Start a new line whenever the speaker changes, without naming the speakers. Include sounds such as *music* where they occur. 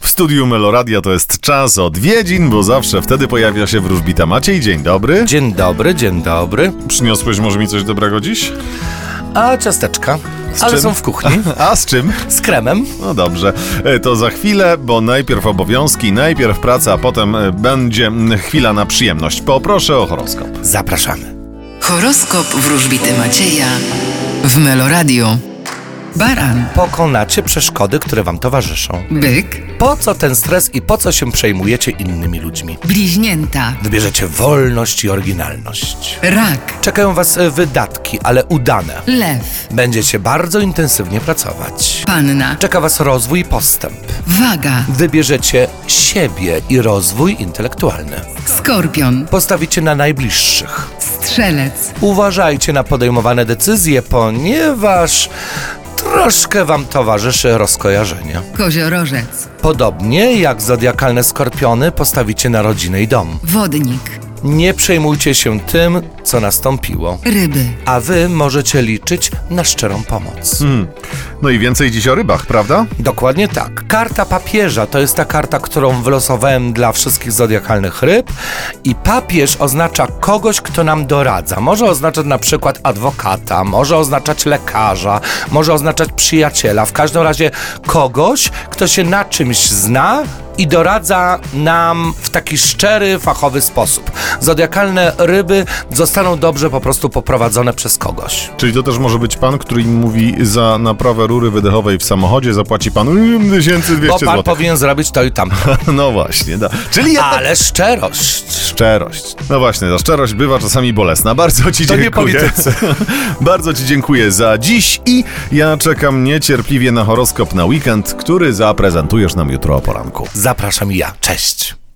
studiu Meloradia to jest czas odwiedzin, bo zawsze wtedy pojawia się wróżbita Maciej. Dzień dobry.
Dzień dobry, dzień dobry.
Przyniosłeś może mi coś dobrego dziś?
A ciasteczka? Ale
czym?
są w kuchni.
*laughs* A z czym?
Z kremem.
No dobrze, E, to za chwilę, bo najpierw obowiązki, najpierw praca, a potem e, będzie mm, chwila na przyjemność. Poproszę o horoskop.
Zapraszamy.
Horoskop wróżbity Macieja w Meloradio. Baran,
Pokonacie przeszkody, które wam towarzyszą.
byk,
Po co ten stres i po co się przejmujecie innymi ludźmi?
bliźnięta,
Wybierzecie wolność i oryginalność.
rak,
Czekają was e, wydatki, ale udane.
lew,
Będziecie bardzo intensywnie pracować.
panna,
Czeka was rozwój i postęp.
waga,
Wybierzecie siebie i rozwój intelektualny.
skorpion,
Postawicie na najbliższych.
strzelec,
Uważajcie na podejmowane decyzje, ponieważ troszkę wam towarzyszy rozkojarzenie.
koziorożec,
Podobnie jak zodiakalne skorpiony postawicie na rodzinę i dom.
wodnik,
Nie przejmujcie się tym, co nastąpiło.
ryby.
A wy możecie liczyć na szczerą pomoc.
No i więcej dziś o rybach, prawda?
Dokładnie tak. Karta papieża to jest ta karta, którą wylosowałem dla wszystkich zodiakalnych ryb. I papież oznacza kogoś, kto nam doradza. Może oznaczać na przykład adwokata, może oznaczać lekarza, może oznaczać przyjaciela. W każdym razie kogoś, kto się na czymś zna i doradza nam w taki szczery, fachowy sposób. Zodiakalne ryby zostaną dobrze po prostu poprowadzone przez kogoś.
Czyli to też może być pan, który im mówi za naprawę rury wydechowej w samochodzie zapłaci *laughs* pan mm, 1200
Bo pan
zł.
powinien zrobić to i tamto.
*laughs* No właśnie, da. Czyli jednak
Ale szczerość.
Szczerość. No właśnie, ta szczerość bywa czasami bolesna. Bardzo Ci
To nie
dziękuję.
politycy.
*laughs* Bardzo Ci dziękuję za dziś i ja czekam niecierpliwie na horoskop na weekend, który zaprezentujesz nam jutro o poranku.
Zapraszam ja. Cześć.